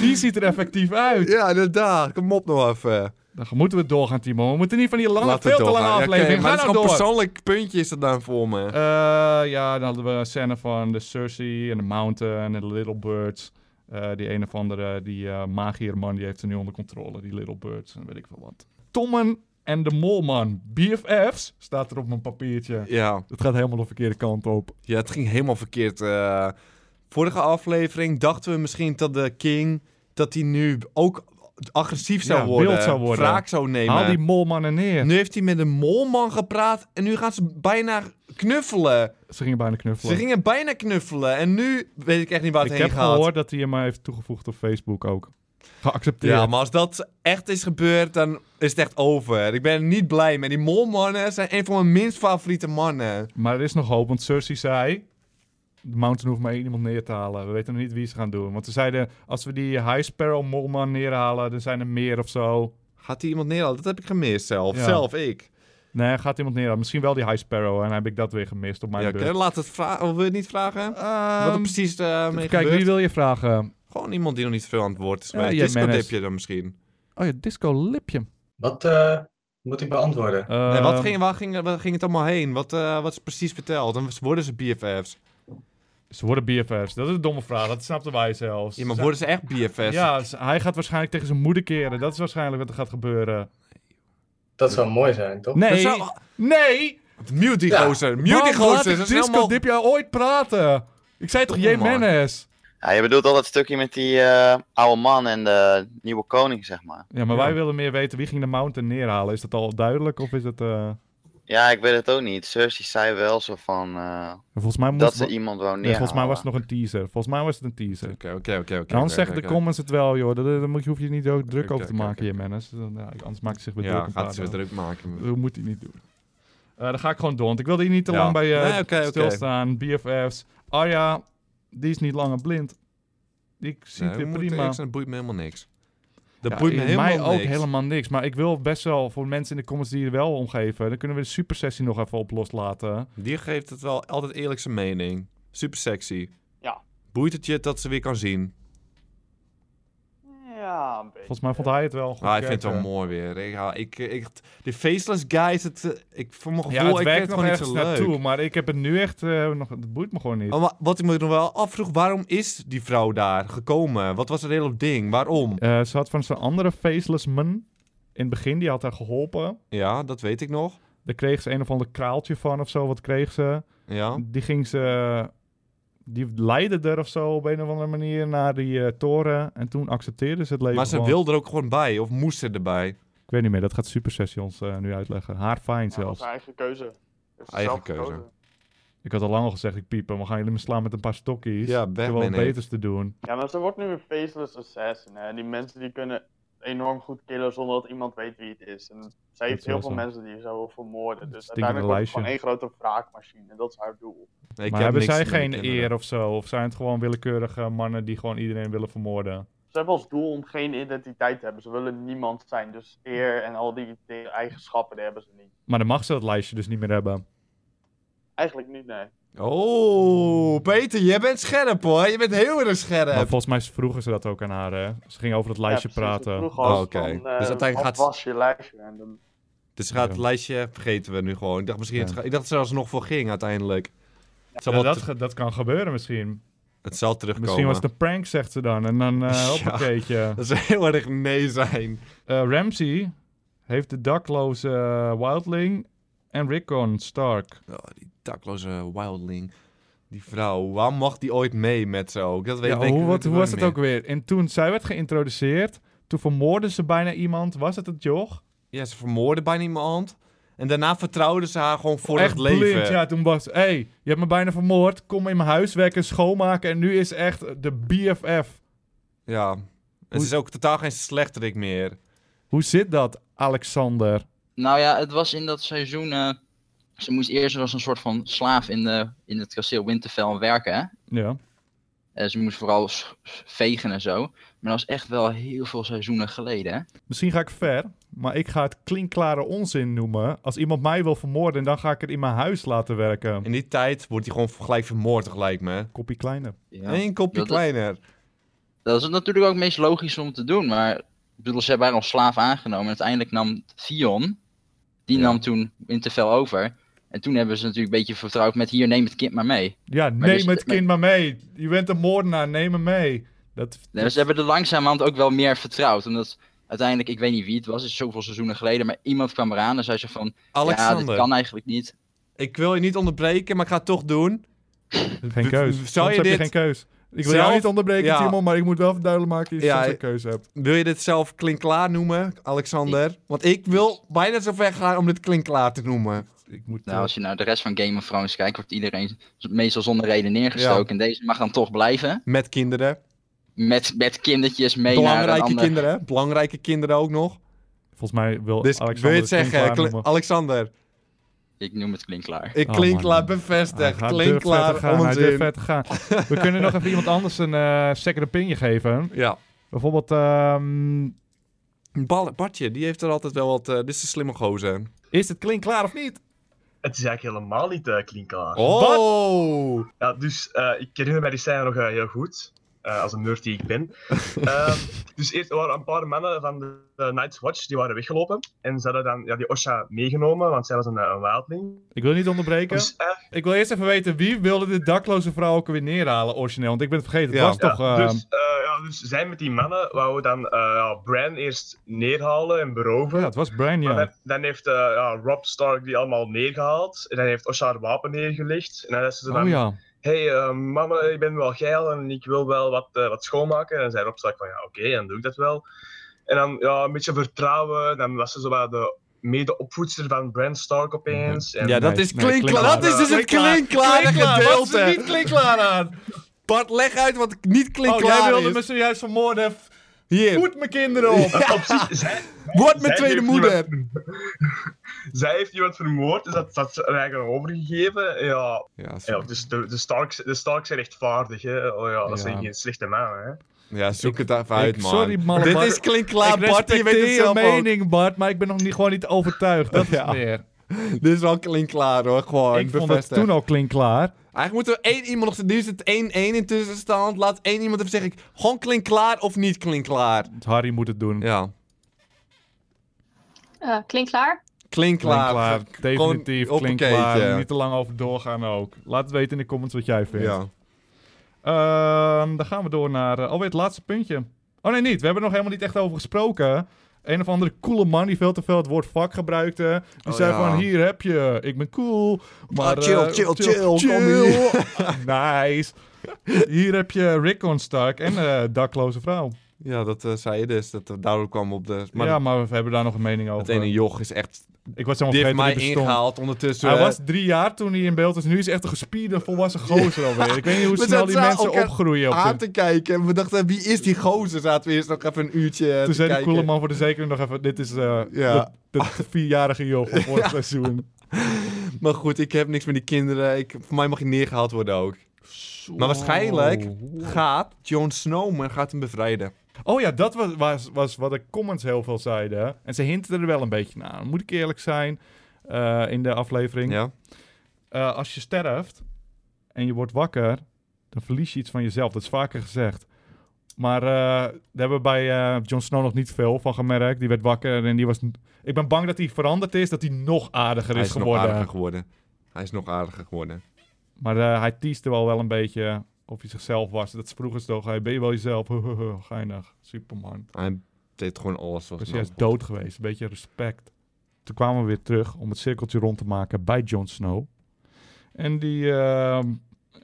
Speaker 1: Die ziet er effectief uit.
Speaker 2: ja, inderdaad. Kom op nog even.
Speaker 1: Dan moeten we doorgaan, Timo. We moeten niet van die lange,
Speaker 2: Laten
Speaker 1: veel
Speaker 2: we
Speaker 1: te lange
Speaker 2: doorgaan. Ja, oké,
Speaker 1: aflevering. Ga
Speaker 2: maar het is
Speaker 1: nou
Speaker 2: gewoon
Speaker 1: door.
Speaker 2: een persoonlijk puntje is dat dan voor me.
Speaker 1: Eh, ja, dan hadden we een scène van de Cersei en de Mountain en de Little Birds. Eh, die een of andere, die eh magierman, die heeft ze nu onder controle. Die Little Birds en weet ik veel wat. Tommen en de Molman, BFF's, staat er op mijn papiertje.
Speaker 2: ja.
Speaker 1: Het gaat helemaal de verkeerde kant op.
Speaker 2: ja, het ging helemaal verkeerd. eh. vorige aflevering dachten we misschien dat de King... dat hij nu ook agressief zou
Speaker 1: Ja,
Speaker 2: worden.
Speaker 1: wild zou worden.
Speaker 2: Wraak zou nemen.
Speaker 1: Haal die Molmannen neer.
Speaker 2: Nu heeft hij met een molman gepraat en nu gaan ze bijna knuffelen.
Speaker 1: Ze gingen bijna knuffelen.
Speaker 2: Ze gingen bijna knuffelen en nu weet ik echt niet waar het
Speaker 1: ik
Speaker 2: heen
Speaker 1: heb
Speaker 2: gaat.
Speaker 1: gehoord dat hij hem heeft toegevoegd op Facebook ook. Geaccepteerd.
Speaker 2: Ja, maar als dat echt is gebeurd, dan is het echt over. Ik ben er niet blij mee. Die molmannen zijn een van mijn minst favoriete mannen.
Speaker 1: Maar er is nog hoop, want Cersei zei... De Mountain hoeft maar één iemand neer te halen. We weten nog niet wie ze gaan doen. Want ze zeiden, als we die High Sparrow Molman neerhalen, dan zijn er meer of zo.
Speaker 2: Gaat hij iemand neerhalen? Dat heb ik gemist zelf.
Speaker 1: Ja.
Speaker 2: Zelf, ik.
Speaker 1: Nee, er gaat iemand neerhalen. Misschien wel die High Sparrow. En dan heb ik dat weer gemist op mijn
Speaker 2: Ja,
Speaker 1: beurt.
Speaker 2: oké, laat het vragen. oh, Wil je het niet vragen? Wat er
Speaker 1: Ehm,
Speaker 2: precies eh, mee
Speaker 1: even kijken,
Speaker 2: gebeurd?
Speaker 1: wie wil je vragen?
Speaker 2: Gewoon iemand die nog niet veel aan het woord is.
Speaker 1: Ja,
Speaker 2: Ja,
Speaker 1: jij
Speaker 2: Discord
Speaker 1: menes.
Speaker 2: heb je dan misschien.
Speaker 1: Oh ja, Disco Lipje.
Speaker 10: Wat eh, moet ik beantwoorden?
Speaker 2: Nee,
Speaker 1: Ehm,
Speaker 2: wat ging, waar, ging, waar ging het allemaal heen? Wat, eh, wat is precies verteld? Dan worden ze BFF's.
Speaker 1: Eh, Ze worden BFF's. Dat is een domme vraag. Dat snapten wij zelfs.
Speaker 2: Ja, maar worden ze echt BFF's?
Speaker 1: Ja, ze- hij gaat waarschijnlijk tegen zijn moeder keren. Dat is waarschijnlijk wat er gaat gebeuren.
Speaker 10: Dat zou mooi zijn, toch?
Speaker 1: Nee,
Speaker 2: Dat zou-
Speaker 1: nee!
Speaker 2: Mute die
Speaker 10: Ja.
Speaker 2: gozer. Mute die
Speaker 1: Waarom laat
Speaker 2: gozer.
Speaker 1: ik
Speaker 2: Dat is
Speaker 1: Disco
Speaker 2: helemaal...
Speaker 1: Dip jou ooit praten? Ik zei toch,
Speaker 2: Domme
Speaker 1: J.
Speaker 2: man.
Speaker 1: Menes?
Speaker 4: Ja, je bedoelt al dat stukje met die eh, oude man en de nieuwe koning, zeg maar.
Speaker 1: Ja, maar
Speaker 2: Ja.
Speaker 1: wij willen meer weten wie ging de mountain neerhalen. Is dat al duidelijk of is het... eh,
Speaker 4: Ja, ik weet het ook niet. Cersei zei wel zo van eh,
Speaker 1: Volgens mij, moest...
Speaker 4: dat ze iemand wou
Speaker 1: nee,
Speaker 4: neerhalen.
Speaker 1: volgens mij was het nog een teaser. Volgens mij was het een teaser.
Speaker 2: Oké, oké, oké. oké,
Speaker 1: En
Speaker 2: oké,
Speaker 1: anders zeggen
Speaker 2: oké,
Speaker 1: de
Speaker 2: oké.
Speaker 1: comments het wel, joh. Daar, daar moet je- hoef je niet zo druk
Speaker 2: Oké,
Speaker 1: over te
Speaker 2: oké,
Speaker 1: maken,
Speaker 2: oké.
Speaker 1: je Menes. Dan, ja, anders maakt hij zich weer druk.
Speaker 2: Ja,
Speaker 1: om
Speaker 2: gaat ze weer
Speaker 1: praten.
Speaker 2: druk maken.
Speaker 1: Dat moet hij niet doen. Eh dan ga ik gewoon door, want ik wilde hier niet te
Speaker 2: Ja.
Speaker 1: lang bij eh,
Speaker 2: Nee, oké, oké.
Speaker 1: stilstaan. BFF's. Arya, die is niet langer blind. Die ziet
Speaker 2: Nee, we
Speaker 1: weer
Speaker 2: moeten
Speaker 1: prima.
Speaker 2: niks en Dat boeit me helemaal niks. Dat
Speaker 1: Ja,
Speaker 2: boeit me
Speaker 1: in
Speaker 2: helemaal
Speaker 1: mij ook
Speaker 2: niks.
Speaker 1: helemaal niks. Maar ik wil best wel voor mensen in de comments die er wel om geven... dan kunnen we de supersessie nog even op loslaten.
Speaker 2: Die geeft het wel altijd eerlijk zijn mening. Super sexy.
Speaker 3: Ja.
Speaker 2: Boeit het je dat ze weer kan zien?
Speaker 3: Ja, een beetje.
Speaker 1: Volgens mij vond hij het wel goed.
Speaker 2: Ah, ik vind het wel
Speaker 1: werken.
Speaker 2: mooi weer. Ik, ja, ik, eh, ik, de faceless guys, het, eh, ik, voor mijn gevoel,
Speaker 1: Ja, het
Speaker 2: ik
Speaker 1: werkt
Speaker 2: vind
Speaker 1: nog
Speaker 2: het
Speaker 1: ergens
Speaker 2: gewoon niet zo
Speaker 1: naartoe.
Speaker 2: leuk.
Speaker 1: Maar ik heb het nu echt... eh, nog, het boeit me gewoon niet.
Speaker 2: Oh, maar wat ik me nog wel afvroeg, waarom is die vrouw daar gekomen? Wat was het hele ding? Waarom?
Speaker 1: Eh, ze had van zijn andere faceless man... in het begin, die had haar geholpen.
Speaker 2: Ja, dat weet ik nog.
Speaker 1: Daar kreeg ze een of ander kraaltje van of zo. Wat kreeg ze?
Speaker 2: Ja.
Speaker 1: Die ging ze... Die leidde er of zo op een of andere manier naar die eh, toren. En toen accepteerde ze het leven
Speaker 2: Maar ze
Speaker 1: gewoon.
Speaker 2: wilde er ook gewoon bij, of moest ze erbij?
Speaker 1: Ik weet niet meer, dat gaat Super Sessie ons eh, nu uitleggen. Haar fijn
Speaker 3: Ja, dat was
Speaker 1: zelfs.
Speaker 3: haar eigen keuze. Heeft ze
Speaker 2: Eigen
Speaker 3: zelf
Speaker 2: keuze.
Speaker 3: gekozen.
Speaker 1: Ik had al lang al gezegd, ik piep hem. We gaan jullie me slaan met een paar stokjes.
Speaker 2: Ja,
Speaker 1: ik heb wel
Speaker 2: Batman
Speaker 1: wat
Speaker 2: heeft.
Speaker 1: beters te doen.
Speaker 3: Ja, maar ze wordt nu een faceless assassin. Hè. Die mensen die kunnen enorm goed killen zonder dat iemand weet wie het is. En zij heeft
Speaker 1: is
Speaker 3: heel
Speaker 1: wel
Speaker 3: veel
Speaker 1: zo.
Speaker 3: mensen die ze wil vermoorden. Dus
Speaker 1: Stinkende
Speaker 3: uiteindelijk wordt het
Speaker 1: lijstje.
Speaker 3: gewoon één grote wraakmachine. En dat is haar doel.
Speaker 2: Ik
Speaker 1: maar
Speaker 2: heb
Speaker 1: hebben
Speaker 2: niks
Speaker 1: zij
Speaker 2: met die
Speaker 1: geen
Speaker 2: kinderen.
Speaker 1: eer of zo? Of zijn het gewoon willekeurige mannen die gewoon iedereen willen vermoorden?
Speaker 3: Ze hebben als doel om geen identiteit te hebben. Ze willen niemand zijn. Dus eer en al die dingen- eigenschappen, die hebben ze niet.
Speaker 1: Maar dan mag ze dat lijstje dus niet meer hebben.
Speaker 3: Eigenlijk niet, nee.
Speaker 2: Oh, Peter, jij bent scherp hoor. Je bent heel erg
Speaker 1: Hmm. Maar
Speaker 2: scherp.
Speaker 1: volgens mij vroegen ze dat ook aan haar, hè? Ze ging over het lijstje praten.
Speaker 2: Oh,
Speaker 3: Oh,
Speaker 2: oké.
Speaker 3: oké.
Speaker 2: Dus uiteindelijk gaat ze-
Speaker 3: was je lijstje? En dan...
Speaker 2: Dus gaat het lijstje vergeten we nu gewoon. Ik dacht misschien,
Speaker 1: Ja.
Speaker 2: het ga- ik dacht zelfs nog voor ging uiteindelijk. Het zal,
Speaker 1: Ja,
Speaker 2: wel
Speaker 1: dat,
Speaker 2: ter-
Speaker 1: ge- dat kan gebeuren misschien.
Speaker 2: het zal terugkomen.
Speaker 1: Misschien was het een prank, zegt ze dan. En dan, eh
Speaker 2: Ja.
Speaker 1: hoppakeetje.
Speaker 2: Dat ze heel erg nee zijn.
Speaker 1: Eh, Ramsey heeft de dakloze eh, Wildling en Rickon Stark.
Speaker 2: Oh, die dakloze wildling. Die vrouw, waar mag die ooit mee met zo? Dat weet
Speaker 1: Ja,
Speaker 2: weet ik
Speaker 1: hoe,
Speaker 2: weet
Speaker 1: wat,
Speaker 2: ik
Speaker 1: hoe was
Speaker 2: niet
Speaker 1: het
Speaker 2: meer.
Speaker 1: ook weer? En toen zij werd geïntroduceerd, toen vermoorden ze bijna iemand. Was het het joch?
Speaker 2: Ja, ze vermoorden bijna iemand. En daarna vertrouwden ze haar gewoon voor
Speaker 1: echt
Speaker 2: het leven.
Speaker 1: blind. Ja, toen was hé, hey, je hebt me bijna vermoord. Kom in mijn huis wekken, schoonmaken. En nu is echt de BFF.
Speaker 2: Ja. En ze
Speaker 1: Hoe-
Speaker 2: is ook totaal geen slechterik meer.
Speaker 1: Hoe zit dat, Alexander?
Speaker 11: Nou ja, het was in dat seizoen eh, Ze moest eerst als een soort van slaaf in, de, in het kasteel Winterfell werken. Hè?
Speaker 1: Ja.
Speaker 11: Eh, ze moest vooral s- s- vegen en zo. Maar dat is echt wel heel veel seizoenen geleden. Hè?
Speaker 1: Misschien ga ik ver, maar ik ga het klinkklare onzin noemen. Als iemand mij wil vermoorden, dan ga ik het in mijn huis laten werken.
Speaker 2: In die tijd wordt hij gewoon gelijk vermoord, gelijk me.
Speaker 1: Kopie kleiner.
Speaker 11: Ja.
Speaker 2: Eén kopje
Speaker 11: Dat-
Speaker 2: kleiner.
Speaker 11: Dat is natuurlijk ook het meest logisch om te doen. Maar ik bedoel, ze hebben haar als slaaf aangenomen. En uiteindelijk nam Theon, die nam toen Winterfell over. En toen hebben ze natuurlijk een beetje vertrouwd met hier, neem het kind maar mee.
Speaker 1: Ja,
Speaker 11: Maar
Speaker 1: neem
Speaker 11: dus-
Speaker 1: het kind maar mee. Je bent een moordenaar, neem hem mee. Dat,
Speaker 11: Nee, ze hebben er langzamerhand ook wel meer vertrouwd. Omdat uiteindelijk, ik weet niet wie het was, het is zoveel seizoenen geleden. Maar iemand kwam eraan en zei ze van, ja,
Speaker 2: Alexander.
Speaker 11: dit kan eigenlijk niet.
Speaker 2: Ik wil je niet onderbreken, maar ik ga het toch doen.
Speaker 1: geen keus.
Speaker 2: Zou
Speaker 1: Soms heb
Speaker 2: je
Speaker 1: je
Speaker 2: dit
Speaker 1: geen keus. Ik wil
Speaker 2: zelf-
Speaker 1: jou niet onderbreken,
Speaker 2: Ja.
Speaker 1: Timon, maar ik moet wel even duidelijk maken dat je
Speaker 2: Ja,
Speaker 1: soms een
Speaker 2: ik-
Speaker 1: keuze hebt.
Speaker 2: Wil je dit zelf klinkklaar noemen, Alexander? Want ik wil bijna zo ver gaan om dit klinkklaar te noemen.
Speaker 1: Ik moet... eh,
Speaker 11: Nou, als je naar de rest van Game of Thrones kijkt, wordt iedereen meestal zonder reden neergestoken.
Speaker 2: Ja.
Speaker 11: En deze mag dan toch blijven.
Speaker 2: Met kinderen.
Speaker 11: Met, met kindertjes mee naar een
Speaker 2: Belangrijke
Speaker 11: ander...
Speaker 2: kinderen. hè? Belangrijke kinderen ook nog.
Speaker 1: Volgens mij wil
Speaker 2: Dus wil je
Speaker 1: Alexander
Speaker 2: het zeggen,
Speaker 1: klinkklaar
Speaker 2: Kle-
Speaker 1: noemen.
Speaker 2: Alexander?
Speaker 11: Ik noem het klinkklaar.
Speaker 2: Ik
Speaker 1: Oh,
Speaker 2: klinkklaar
Speaker 1: Hij gaat
Speaker 2: bevestigd.
Speaker 1: durft verder
Speaker 2: Klinkklaar
Speaker 1: gaan, hij durft
Speaker 2: onzin.
Speaker 1: verder gaan. We kunnen nog even iemand anders een eh second opinion geven.
Speaker 2: Ja.
Speaker 1: Bijvoorbeeld, ehm,
Speaker 2: Bal- Bartje, die heeft er altijd wel wat... eh, dit is een slimme gozer.
Speaker 1: Is het klinkklaar of niet?
Speaker 8: Het is eigenlijk helemaal niet eh klinkklaar.
Speaker 2: Oh!
Speaker 8: Ja, dus eh, ik herinner mij die scène nog eh, heel goed. eh, als een nerd die ik ben. Ehm, dus eerst er waren een paar mannen van de, de Night's Watch die waren weggelopen. En ze hadden dan ja, die Osha meegenomen, want zij was een, eh, een wildling. Dus, eh,
Speaker 1: ik wil niet onderbreken. ik wil eerst even weten, wie wilde dit dakloze vrouw ook weer neerhalen origineel? Want ik ben het vergeten, het was toch... ehm,
Speaker 8: dus, eh, ja, dus zij met die mannen wou dan eh, ja, Bran eerst neerhalen en beroven.
Speaker 1: oh Ja, het was Brian, ja.
Speaker 8: Maar Dan, dan heeft eh, ja, Rob Stark die allemaal neergehaald. En dan heeft Osha haar wapen neergelegd. En dan heeft ze
Speaker 1: Oh,
Speaker 8: dan...
Speaker 1: ja.
Speaker 8: Hé, eh, mama, ik ben wel geil en ik wil wel wat, eh, wat schoonmaken. En dan zei Rob Stark van, ja, oké, dan doe ik dat wel. En dan ja, een beetje vertrouwen. Dan was ze zo wat de mede-opvoedster van Bran Stark opeens. En-
Speaker 2: Ja, dat is klinkklaar. Dat is dus het klinkklare
Speaker 1: Wat is
Speaker 2: gedeelte.
Speaker 1: er niet klinkklaar aan?
Speaker 2: Bart, leg uit wat niet klinkklaar
Speaker 1: Oh, jij wilde
Speaker 2: is.
Speaker 1: me zojuist vermoorden. F-
Speaker 2: Hier.
Speaker 1: Voed mijn kinderen op.
Speaker 2: Word mijn
Speaker 8: Zij
Speaker 2: tweede
Speaker 8: heeft
Speaker 2: moeder.
Speaker 8: Zij heeft iemand vermoord, dus dat, dat is er eigenlijk overgegeven. Ja,
Speaker 2: ja,
Speaker 8: ja dus de, de, Starks, de Starks zijn rechtvaardig, hè. Oh ja, dat
Speaker 2: Ja.
Speaker 8: zijn geen slechte mannen, hè.
Speaker 2: Ja, zoek het even uit,
Speaker 1: Ik-
Speaker 2: man.
Speaker 1: Sorry, man.
Speaker 2: Dit
Speaker 1: Bart.
Speaker 2: is klinkklaar,
Speaker 1: Ik
Speaker 2: Bart. Je weet het
Speaker 1: respecteer
Speaker 2: zelf
Speaker 1: je
Speaker 2: ook.
Speaker 1: mening, Bart, maar ik ben nog niet, gewoon niet overtuigd. Dat is
Speaker 2: Ja.
Speaker 1: het meer.
Speaker 2: Dit is wel klinkklaar, hoor. Gewoon
Speaker 1: ik vond het
Speaker 2: bevestigd.
Speaker 1: toen al klinkklaar.
Speaker 2: Eigenlijk moeten we één iemand nog... Nu is het 1-1 in tussenstand. Laat één iemand even zeggen. Gewoon klinkklaar of niet klinkklaar.
Speaker 1: Harry moet het doen.
Speaker 2: Ja.
Speaker 7: Eh, klinkklaar?
Speaker 2: Klinkklaar.
Speaker 1: Klinkklaar,
Speaker 2: Gewoon
Speaker 1: definitief
Speaker 2: hoppakeetje.
Speaker 1: klinkklaar. Niet te lang over doorgaan ook. Laat het weten in de comments wat jij vindt.
Speaker 2: Ja.
Speaker 1: Ehm, dan gaan we door naar eh, alweer het laatste puntje. Oh nee, niet. We hebben er nog helemaal niet echt over gesproken. Een of andere coole man die veel te veel het woord vak gebruikte. Die
Speaker 2: Oh,
Speaker 1: zei
Speaker 2: ja.
Speaker 1: van, hier heb je, ik ben cool. Maar,
Speaker 2: Ah, chill,
Speaker 1: eh,
Speaker 2: chill, chill, kom hier.
Speaker 1: nice. Hier heb je Rickon Stark en eh dakloze vrouw.
Speaker 2: Ja, dat eh, zei je dus. Dat, daardoor kwam op de... Maar
Speaker 1: ja, maar we hebben daar nog een mening over.
Speaker 2: het ene joch is echt...
Speaker 1: Ik was
Speaker 2: Die
Speaker 1: helemaal vergeten
Speaker 2: heeft mij
Speaker 1: dat die bestond.
Speaker 2: ingehaald ondertussen.
Speaker 1: Hij
Speaker 2: eh,
Speaker 1: was drie jaar toen hij in beeld was. Nu is hij echt een gespierde, volwassen gozer alweer. Ik weet niet hoe
Speaker 2: We
Speaker 1: snel
Speaker 2: zaten
Speaker 1: die
Speaker 2: zo
Speaker 1: mensen
Speaker 2: elkaar
Speaker 1: opgroeien. Op
Speaker 2: aan
Speaker 1: de...
Speaker 2: te kijken. En we dachten, wie is die gozer? Zaten we eerst nog even een uurtje eh,
Speaker 1: Toen
Speaker 2: te
Speaker 1: zei de
Speaker 2: kijken.
Speaker 1: coole man voor de zekering nog even... Dit is eh
Speaker 2: Ja.
Speaker 1: dat, dat vierjarige joh van vorig
Speaker 2: Ja.
Speaker 1: seizoen.
Speaker 2: Maar goed, ik heb niks met die kinderen. Ik, voor mij mag hij neergehaald worden ook. Maar waarschijnlijk gaat Jon Snow en gaat hem bevrijden.
Speaker 1: Oh ja, dat was, was, was wat de comments heel veel zeiden. hè. En ze hinten er wel een beetje naar. Moet ik eerlijk zijn, eh, in de aflevering.
Speaker 2: Ja.
Speaker 1: Eh, als je sterft en je wordt wakker, dan verlies je iets van jezelf. Dat is vaker gezegd. Maar eh, daar hebben we bij eh Jon Snow nog niet veel van gemerkt. Die werd wakker en die was... Ik ben bang dat hij veranderd is, dat hij nog aardiger
Speaker 2: Hij
Speaker 1: is,
Speaker 2: is nog
Speaker 1: geworden.
Speaker 2: aardiger geworden. Hij is nog aardiger geworden.
Speaker 1: Maar eh, hij teaste wel wel een beetje of hij zichzelf was. Dat is vroeger toch, hey, ben je wel jezelf? Geinig, Superman.
Speaker 2: Hij deed gewoon alles wat
Speaker 1: Was hij juist dood geweest, een beetje respect. Toen kwamen we weer terug om het cirkeltje rond te maken bij Jon Snow. En die ehm,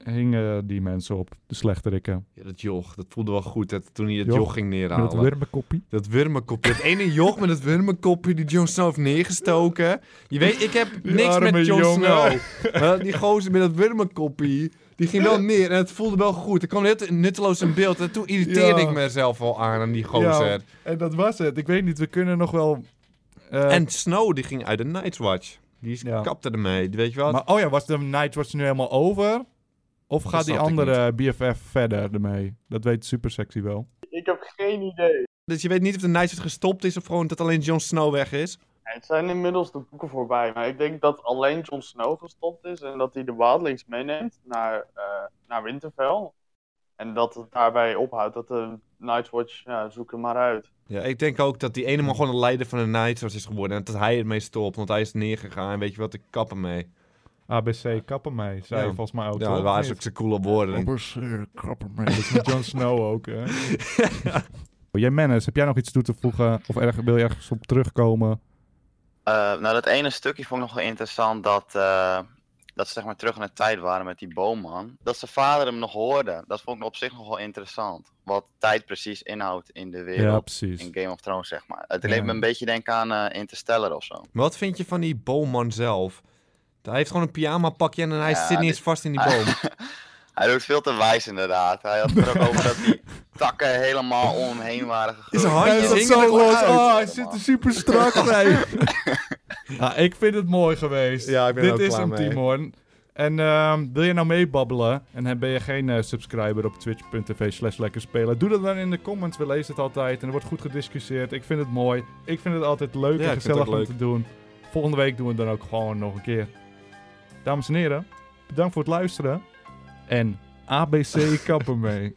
Speaker 1: hingen die mensen op, de slechterikken.
Speaker 2: Ja, dat joch, dat voelde wel goed. Dat, toen hij het
Speaker 1: Joch,
Speaker 2: joch, ging neerhalen.
Speaker 1: Met het wurmenkoppie.
Speaker 2: Dat wurmenkopje. Dat ene joch met dat wurmenkopje die Jon Snow heeft neergestoken. Je weet, ik heb
Speaker 1: Die
Speaker 2: niks
Speaker 1: arme
Speaker 2: met Jon
Speaker 1: jongen.
Speaker 2: Snow. Maar die gozer met dat wurmenkopje, die ging wel neer en het voelde wel goed. Er kwam net nutteloos in beeld en toen irriteerde
Speaker 1: Ja.
Speaker 2: ik mezelf wel aan aan die gozer.
Speaker 1: Ja, en dat was het. Ik weet niet, we kunnen nog wel... eh,
Speaker 2: En Snow, die ging uit de Night's Watch. Die is, kapte ermee, weet je wat?
Speaker 1: Maar, oh ja, was de Night Watch nu helemaal over? Of gaat die
Speaker 2: snap ik
Speaker 1: andere BFF verder ermee? Dat weet Supersexy wel.
Speaker 3: Ik heb geen idee.
Speaker 2: Dus je weet niet of de Nightshade gestopt is of gewoon dat alleen Jon Snow weg is.
Speaker 3: Het zijn inmiddels de boeken voorbij, maar ik denk dat alleen Jon Snow gestopt is en dat hij de Wildlings meeneemt naar, eh, naar Winterfell. En dat het daarbij ophoudt, dat de Nightwatch, ja, zoek hem maar uit.
Speaker 2: Ja, ik denk ook dat die ene man gewoon de leider van de Nightwatch is geworden. En dat hij ermee stopt, want hij is neergegaan. En weet je wat, ik kap ermee.
Speaker 1: ABC kappen mee, zei
Speaker 2: Ja.
Speaker 1: je volgens mij ook.
Speaker 2: Ja,
Speaker 1: toch?
Speaker 2: dat waren
Speaker 1: Of
Speaker 2: ze
Speaker 1: niet?
Speaker 2: ook zijn coole woorden.
Speaker 1: ABC kappen mee. Dat is met Jon Snow ook, hè? Oh, Jij Mennis, heb jij nog iets toe te voegen? Of erg, wil je ergens op terugkomen?
Speaker 4: Eh, nou, dat ene stukje vond ik nog wel interessant. Dat, eh, dat ze zeg maar terug in de tijd waren met die boomman. Dat zijn vader hem nog hoorde. Dat vond ik op zich nog wel interessant. Wat tijd precies inhoudt in de wereld.
Speaker 1: Ja, precies.
Speaker 4: In Game of Thrones, zeg maar. Het
Speaker 2: Ja.
Speaker 4: leek me een beetje denken aan eh, Interstellar of zo.
Speaker 2: Maar wat vind je van die boomman zelf? Hij heeft gewoon een pyjama pakje en hij
Speaker 4: Ja,
Speaker 2: zit niet
Speaker 4: dit-
Speaker 2: eens vast in die boom.
Speaker 4: Hij doet veel te wijs, inderdaad. Hij had het er ook over dat die takken helemaal om hem heen waren gegroeid.
Speaker 2: Zijn handjes
Speaker 4: Ja, dat
Speaker 2: hingen er
Speaker 4: zo
Speaker 2: gewoon
Speaker 4: uit.
Speaker 2: uit.
Speaker 1: Oh, hij zit er super strak bij. ja, ik vind het mooi geweest.
Speaker 2: Ja, ik ben er
Speaker 1: Dit
Speaker 2: ook
Speaker 1: is
Speaker 2: klaar
Speaker 1: hem,
Speaker 2: mee.
Speaker 1: Timon. En ehm, wil je nou meebabbelen en heb- ben je geen eh, subscriber op twitch.tv slash lekker spelen? Doe dat dan in de comments, we lezen het altijd en er wordt goed gediscussieerd. Ik vind het mooi, ik vind het altijd leuk
Speaker 2: Ja,
Speaker 1: en
Speaker 2: ik vind het
Speaker 1: gezellig
Speaker 2: ook
Speaker 1: om
Speaker 2: leuk.
Speaker 1: te doen. Volgende week doen we het dan ook gewoon nog een keer. Dames en heren, bedankt voor het luisteren en ABC kappen mee.